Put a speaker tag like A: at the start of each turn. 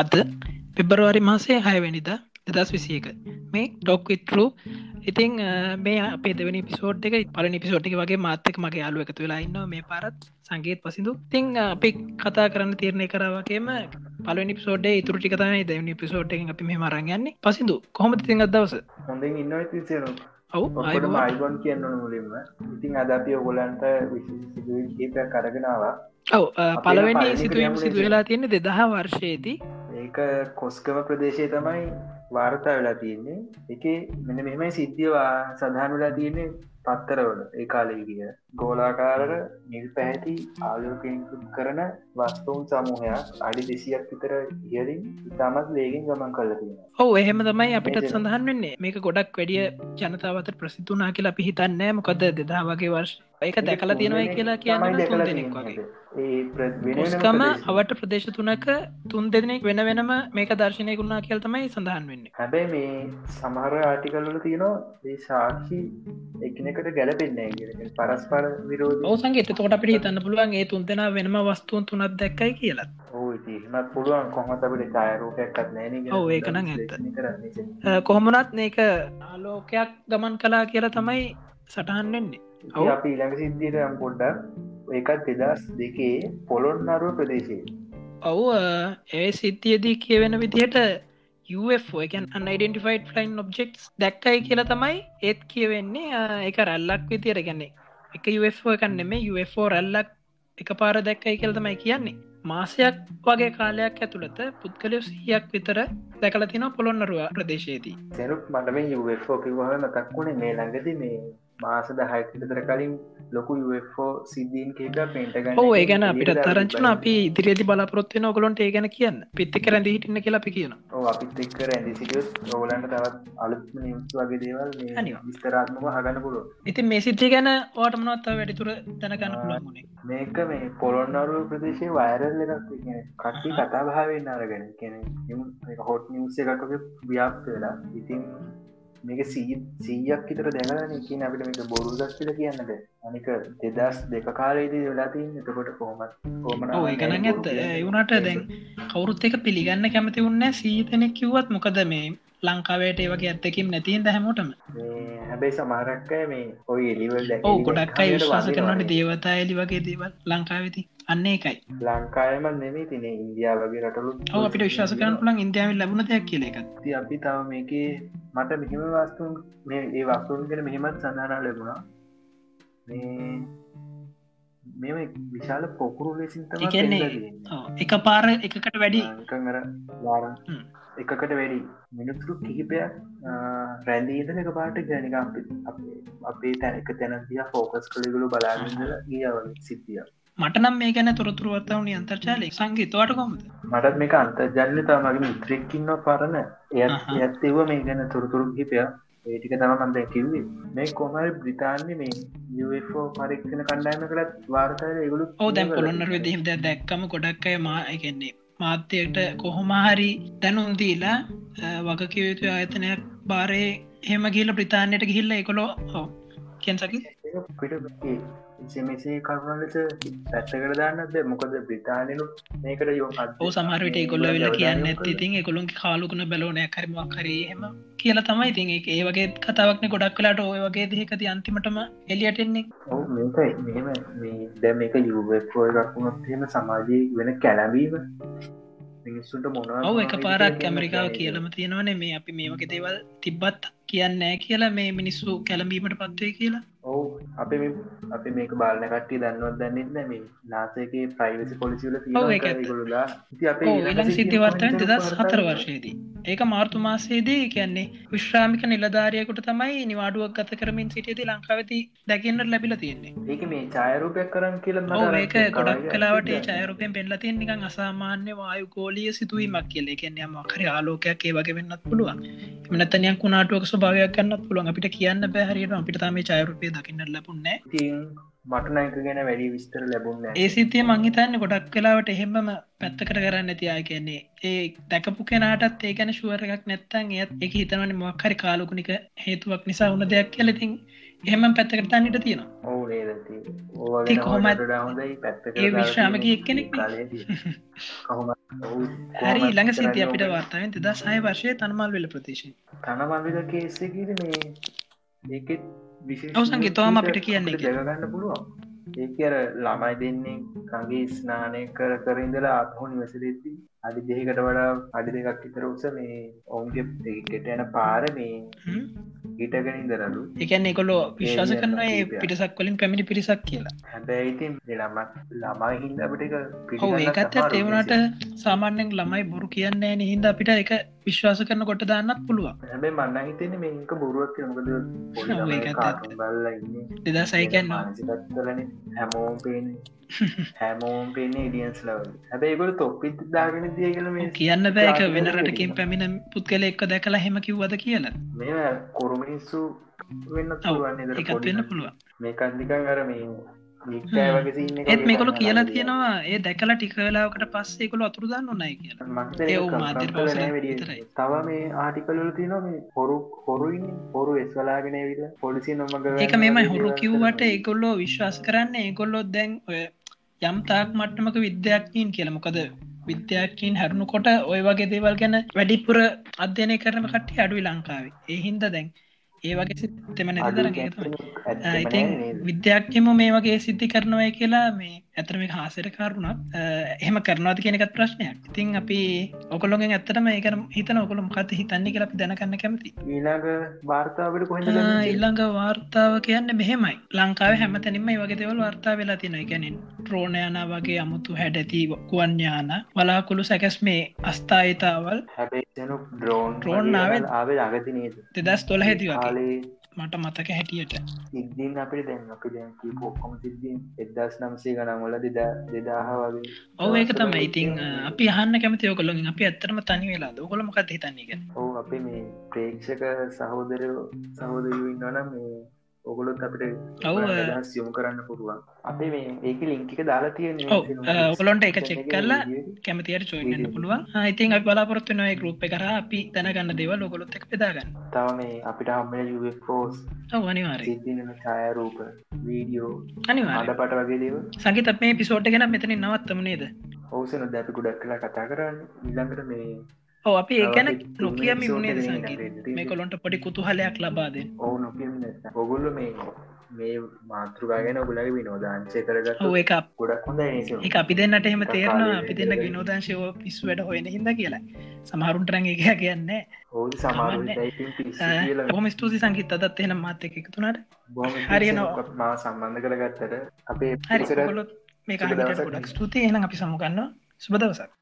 A: අද පෙබරවාරි මාසේ හයවැනිද දෙදස් විසියක මේ ටොක් විටරු ඉතිං මේ අපේ දෙවනි පිසෝට් එක පල නිපිසෝට්ි වගේ මාතක මගේ යාලුව එකතු වෙලා ඉන්න මේ පරත් සංගේත් පසිදු තිං අපි කතා කරන්න තීරණය කරවාගේම පල නිපිසෝඩේ ඉතුරටි කතන දෙවනි පිසෝට් එක අපි මේ මරගන්නේ පසිදු කොහොමති තිංග දවස
B: හොඳින් ඉන්න තිසරු
A: ඔවු
B: ඔකට මයිගොන් කියන්න ඕන මුලින්ම ඉතින් අද අපි ඔගොලන්ට විශේෂ කීපයක් අරගෙනවා
A: ඔව පලවෙනි
B: පළවෙනි
A: සිතුවම්
B: ක්‍රියාවලිය
A: සිදු වෙලා තියෙන දෙදහ වර්ෂයේදී
B: ඒක කොස්කම ප්‍රදේශය තමයි වාර්තා වෙලා තියෙන්නේ එක මෙන මෙමයි සිද්ධියවා සඳහන් වෙලා තියන්නේ පත්තරවල ඒ කාලවිදිිය ගෝලාකාරර නිල් පැහැති ආලෝකෙන්කු කරන වස්තුූන් සමූහයක් අඩි දෙසියක් විතර ඉහලින් ඉතාමත් ලේගෙන් ගමන් කල්ල තියෙන
A: ඔව එහෙම තමයි අපිටත්
B: මේක-
A: සඳහන් වෙන්නේ මේක ගොඩක් වැඩිය ජනතාවත ප්‍රසිද්ධනා කියලා පිහිතන්නෑ මොකද දෙදා වගේ වර්ෂ ඒක දැකලා තියෙනවා කියලා
B: තමයි
A: කියන්න තුන්
B: දැකලා
A: දෙනෙක් වගේ
B: තියෙන්නේ. ඒ ප්‍ර- වෙන වෙනම
A: කොස්කම
B: ප්‍රදේශ.
A: අවට ප්‍රදේශ තුනක තුන් දෙනෙක් වෙන වෙනම මේක දර්ශනය ගුණා කියල් තමයි සඳහන් වෙන්නේ
B: හැබැයි මේ සමහර ආටිකල්ල තියෙනවා ඒ සාක්ෂි එකනකට ගැලපෙන්නේ නෑ පරස්පර විරෝධ
A: ඔවසන්ගේත තොට අපිට හිතන්න පුළුවන් ඒ තුන් දෙෙන වෙනම වස්තුූන් තුනක් දැක්කයි කියලා
B: ඕතිමත් පුළුවන් කොහමත අපට ඡායරෝපයක්ත් නෑන
A: ඔව් ඒක නම් ඇත්ත. අ, කොහොමනත් මේක ආලෝකයක් ගමන් කලා කියලා තමයි සටහන් වෙන්නේ ඔව්.
B: අපි ඉළඟ සිද්ධියට යම් පොඩ්ඩක් ඒකත් දෙදස් දෙකේ පොළොන් අරුව ප්‍රදේශයේ
A: ඔව් අ, ඒ සිද්ධියදී කියවෙන විදිහට එකන් අන්ඩෙන්ටිෆයිඩ් ෆලයින් ඔබ්ෙක්් දැක්කයි කියලා තමයි ඒත් කියවෙන්නේ අ, ඒක රැල්ලක් විතිර ගැන්නේ එක UFO එකන්න මේ UFO රැල්ලක් එක පාර දැක්කයි කියල තමයි කියන්නේ මාසයක් වගේ කාලයක් ඇතුළත පුද්ගලය සියක් විතර දැකල තින පොළොන්නරුව ප්‍රදේශයේදී
B: සැනුත් මටම යුෝ කිවහම මතක් වුණේ මේ ළඟද මේ මාසද හයතර කලින් ලොකු යුෝ සිද්ධීන් කේක පෙන්ටගන්න
A: ඔහු ඒ ගැන අපිට තරංචන අපි ඉදිරිදි බලාපොත්වෙන ඔගොලොන්ට ඒ ගැන කියන්න පිත්ති කරැඳ හිටින්න කියලා අපි කියන
B: ඔව් අපිත් එක්ක රැඳී සිටියොත් ඕලන්ට තවත් අලුත් නිවස් වගේ දේවල් මේ
A: අනිවා.
B: විස්තරාත්මක අහගන්න පුළුවන්.
A: ඉතින් මේ සිද්ධි ගැන ඕටමනොත්ත වැඩිතුර දැනගන්න පුළුවන් වුණේ
B: මේක මේ පොළොන්නරුව ප්‍රදේශයේ වෛරල් එකක් කියන්නේ කට්ටිය කතා බහ වෙන්න අරගෙන කියන්නේ මේක හොට් නිවුස් එකක් වගේ ව්‍යාප්ත වෙලා. ඉතින් මේක 100 100ක් විතර දැනගන්න කියන අපිට මේක බොරුදක් කියලා කියන්න බෑ. අනික 2002 කාලේදී වෙලා තියෙන එතකොට කොහොමද කොහොමද
A: ඔය ගනන් ඇත්ත ඒවුණට දැන් කවුරුත් එක පිළිගන්න කැමති උන්න සීතනෙක් කිව්වත් මොකද මේ ලංකාවට ඒ වගේ ඇත්තකින් නැතින් දැහැමටම
B: මේ හැබැයි සමහරක්කය මේ ඔය එලිවල් දැක
A: ඔහු ගොඩක් අයි විශ්වාස කරනට දේවතා එලි වගේ දේවල් ලංකාවෙති අන්න ඒකයි
B: ලංකායම නෙමේ තින ඉන්දයා වගේ රටලු
A: ඔව අපිට විශ්වාස කරන පුළන් ඉන්දියාවල් ලැබුණ දෙයක් කියල එකත්
B: ති අපි තව මේකේ මට මෙහෙම වස්තුන් මේ ඒ වස්තුන් කෙන මෙහෙමත් සඳහනා ලැබුණා මේ මෙම විශාල පොකුරු ලෙසින් තම
A: එකන්නේ එක පාර එකකට වැඩි
B: කර වාර
A: හ්ම්.
B: එකකට වැඩි මිනිතුරු කිහිපයක් රැල්ලීද එක පාට ගැනික අපේ තැන එක තැනතිය ෆෝකස් කළිගුළු බලාගල ගියවල සිද්ධිය
A: මටනම් මේ ගැන තොරතුරුවත්තාවනි අන්තර්චාලය සංගීතවට කොමද
B: මටත් මේක අන්තර්ජල්ල තමගේ මිත්‍රෙක්කින්න පරණ
A: අහහ.
B: එයත් ඇත්තව මේ ගැන තොරතුරු හිපය ඒටික තමන්ද කිවේ මේ කොමල් බ්‍රිතාන්ය මේ ෝ පරීක්ෂණ කණ්ඩායම කළත් වාර්තය ඒගුලු
A: ඕ දැන් පොළොන්නර දීම දැ දැක්කම ගොඩක්කය මා එකන්නේ මාත්‍යයට කොහොමහරි දැනුන්දීලා වගකිවයුතු ආයතනයක් බාරය හෙම ගිල ප්‍රතාානයට ගිහිල්ල එකොළො හෝ කියන්සකි
B: පිට මෙසේ කරුණලස පැත්ත කරදාන්නද මොකද බ්‍රිතාානලු මේකට යෝ
A: ඕ සමහරවිට ගොල්ල වෙල කියන්න ඉතින් එකොළුන් කාලුකුණ බැලෝනය කරමක් කරේ හෙම කියලා තමයි ඉතින් ඒ- ඒ වගේ කතාවක්න ගොඩක් කලාට ඔය වගේ දෙකති අන්තිමටම එලියටෙන්නේ
B: ඔව් මේකයි මෙම මේ දැම එක යුෝ රක්ුණත්ම සමාජී වෙන කැලැවීම මිනිස්සුන්ට මොනවා
A: ඔව එක
B: මොනවා
A: පාරක්
B: විදිහට
A: ඇමරිකාව
B: කියන්නේ
A: කියලම තියෙනවනේ මේ අපි මේ වගේ දේවල් තිබ්බත් කියන්නෑ කියලා මේ මිනිස්සු කැලඹීමට පත්වේ කියලා
B: ඔවු අප අපි මේක බාලන කට්ටි දන්නවත් දන්නෙත් නැම නාසේගේ ප්‍රයිවසි පොලිසිල
A: ඔව් ඒක ඇත්ත. ඊළඟ සිද්ධිවර්තන දෙදස් හතර වර්ෂයේදී ඒක මාර්තු මාසයේදී කියන්නේ විශ්‍රාමික නිලධාරයකුට තමයි නිවාඩුවක් ගත කරමින් සිටියදී ලංකාවති දැකන්නට ලැබිල තියෙන්නේ
B: ඒක මේ චායරූපයක් කරන්න කියල
A: ඔව් ඒක ගොඩක් කලාවට චයරුපෙන් පෙන්ල තියෙන් නිකන් අසාමාන්‍ය වායු ගෝලිය සිතුවීමක් කියල කියන්නේ මකර ආලෝකයක් ඒ වගේ වෙන්නත් පුළුවන් එමනතනයක් කුණාටුවක ස්භාවයක් කන්න පුළුවන් අපිට කියන්න බැහරිට අපිට තම චයරුපය දකින්නට ලැබුන්නේ
B: තින් මටනයක ගැන වැඩි විස්තර ලැබුන්න
A: ඒ සිතේ මංහිතන්න ගොඩක් කලාවට එහෙමම පැත්තකට කරන්න තියා කියන්නේ ඒ දැකපු කෙනටත් ඒ ගැන ශුවරකක් නැත්තන් ඒත් එක හිතවන මොක්හරි කාලුකුණික හේතුවක් නිසා උන දෙයක් කියලතින් එහෙම පැත්තකරතාන්නට තියෙනවා
B: ඔවු නේද
A: ඉතින් කොහොමත්
B: හොඳයි පැත්ත
A: ඒ විශ්‍රාමක එක්කෙනෙක් නේ.
B: කොහොම
A: හරි ළඟ සිටිය අපිට වාර්තාවෙන් තිදා සහය වර්ශය තනමල් වෙල ප්‍රතිශය
B: තනමල්ල කේස්සකිර මේ ඒකෙත් විශේෂ
A: ඔව් සංගීත, ඔහම අපිට
B: විදිහට
A: කියන්නේ
B: අපිට
A: කියලා.
B: දැනගන්න පුළුවන් ඒක අර ළමයි දෙන්නේ කගේ ස්නානය කර කර ඉඳලා අත්හොන් වැසලෙද්දී අඩි දෙකකට වඩා අඩි දෙකක් විතර උස මේ ඔවුන්ගේ දෙකට යන පාර මේ ගිටගෙන ඉඳරලු
A: එකන්නේ කොලෝ විශ්වාස
B: ඒ
A: කරනවා ඒ
B: විදිහට.
A: පිටසක් වලින් පැමිණි පිරිසක් කියලා
B: හැබැයි ඉතින් ළමත් ළමයි හින්ද අපිට එක
A: ඔව ඒකත් තේවුණට සාමාන්‍යෙන් ළමයි බොරු කියන්නේ නහින්ද අපිට එක විශ්වාස කරන කොට දාන්නත් පුළුවන්
B: හැබැයි මන්න හිතන මේක බොරුවක් කියලා. මොකද පොඩි
A: ඔව්,
B: ළමයි
A: ඒකත්
B: කාටුන්
A: ඇත්ත.
B: බලලා ඉන්නේ.
A: දෙදා සයිකන්න
B: මානසිකත්වලන හැමෝම් පේන්නේ හැමෝම් පේන්නේ ඉඩියන්ස් ලව හැබැයිබට තොප්පිත් දාගෙන දිය කල මේ
A: කියන්න බෑක
B: ප්‍රාර්ථනා
A: වෙන
B: කරලා
A: රටකින්
B: තියෙනවා.
A: පැමිණ පුද්ගල එක්ක දැකලා හෙම කිව්වද කියලා
B: මේ කොරුමිනිස්සු වෙන්න
A: ඔව්
B: පුළුවන්
A: එකත් වෙන්න පුළුවන්
B: මේ කන්දිකන් අර මේ නික්ටය වගේ සින්න
A: ඒත් මේකොලු කියලා තියෙනවා ඒ දැකලා ටිකවෙලාවකට පස්සේකොළු අතුරදන්න නයි කියලා ඒ ඔව් මාධ්‍ය පාසල විතරයි.
B: තව මේ ආටිකල්ල තියන මේ හොරු හොරුයින් හොරු එස්වලාගෙන විල පොලිසි නොමග
A: ඒක මෙමයි හොරු කිව්වට ඒකොල්ලෝ විශ්වාස කරන්න ඒකොල්ලො දැන් ඔය යම් තාක් මට්ටමක විද්‍යාඥීන් කියලමොකද විද්‍යාඥීන් හැරුණු කොට ඔය වගේ දේවල් ගැන වැඩිපුර අධ්‍යනය කරම කට්ටි අඩුයි ලංකාවේ ඒහින්ද දැන් ඒ වගේ සිතම නැතිදරගතුයි ඉතින් විද්‍යාඥම මේ වගේ සිද්ධි කරනවය කියලා මේ ඇතරම හාසයට කරුණක් එහෙම කරනවාද කියෙනකත් ප්‍රශ්නයක් ඉතින් අපි ඔකොලොගෙන් ඇත්තටම ඒකන හිතන ඔකොළොම් කත හිතන්නේ කියලා අපි දැනකන්න කැමති
B: ඊළඟ වාර්තාවට කොහෙද
A: ආ,
B: ගන්නේ?
A: ඊළඟ වාර්තාව කියන්න මෙහෙමයි ලංකාව හැමතැනිම වගේදවල් වාර්තා වෙලා තින ගැනින් ට්‍රෝණයන වගේ අමුතු හැඩැති කුවන්්‍යාන වලාකුළු සැකැස් මේ අස්ථායිතාවල්
B: හැබැයි ද්‍රෝන්
A: Drone ආවෙත්.
B: ආවේ අගති නේද
A: දෙදස් තොළ හැති වගේ
B: කාලේ
A: මට මතක හැටියට
B: ඉක්දීන් අපිට දැන් අපි දැන් කීප ඔක්කොම සිද්ධීන් එදස් නම්සේ ගනන්වල දෙදා දෙදාහ වගේ
A: ඔව ඒක තම ඉතින් අ, අපි හන්න කැමති යෝකොලින් අපි ඇත්තරම තනි වෙලා ඔකොලමකත් හිතන්නේගෙන
B: ඔහු අපේ මේ ප්‍රේක්ෂක සහෝදරයෝ සහෝදරයුන්න නම් මේ ඔගොලොත් අපිට
A: ඔව්, අ.
B: දහස් යොමු කරන්න පුළුවන් අපේ මේ ඒක ලිංකික දාලා
A: ඔව් අ, ඔකොලොන්ට එක චෙක් කරලා කැමතියට චෝයින්න පුළුවන් ඉතින් අප බලාපොරත්තු නොය ගරුප් කර අපි තැනගන්න දේව ලොකොලොත් එක් පෙදාගන්න
B: තව මේ අපිට හම්මල යුෝස්
A: අනිවාරය
B: සිද්ධන ඡායරූප වීඩියෝ
A: අනිවාර
B: අඩ පට වගේ දේව
A: සංගිත මේ පිසෝට් ගැන මෙතන නවත්තම නේද
B: ඔවුසන දැපි ගොඩක් කලා කතා කරන්න ඉල්ළඟට මේ
A: ඔව අපි ඒකැන
B: තව අපි
A: නොකියම
B: තුන්වෙනි
A: වුණේද
B: episode එක
A: සංගීත
B: නේද?
A: මේ කොළොන්ට පොඩි කුතුහලයක් ලබාද
B: ඔවු නොකියන්න ඔගුල්ල මේ මේ මාතෘකාගෙන ගුලගේ විනෝදාංචය කරගත්
A: ඔව එක
B: ගොඩක් හොඳ නිසි
A: එක අපි දෙන්නට එහෙම
B: එක
A: තේරන
B: කාලේ
A: අපි දෙන්න
B: ඉඳගෙන.
A: විනෝදංශයෝ පිස් වැඩ හොයෙන හිද කියලා සමහරුන්ට රැඟ එක කියන්න
B: ඔවු
A: කමන්නේ.
B: සමාරුයිතයිතින් පිස්ස කියල
A: හොම ස්තුති සංගීත අදත් එහෙන මාත එක එකතුනට
B: බොම
A: හරියනවා.
B: මා සම්බන්ධ කරගත්තට අපේ
A: හරි
B: පිරිසට
A: කොලොත් මේ
B: සුබ
A: කාට
B: දවසක්.
A: ගොඩක් ස්තුතියි එන අපි සමුගන්න සුබදවසක්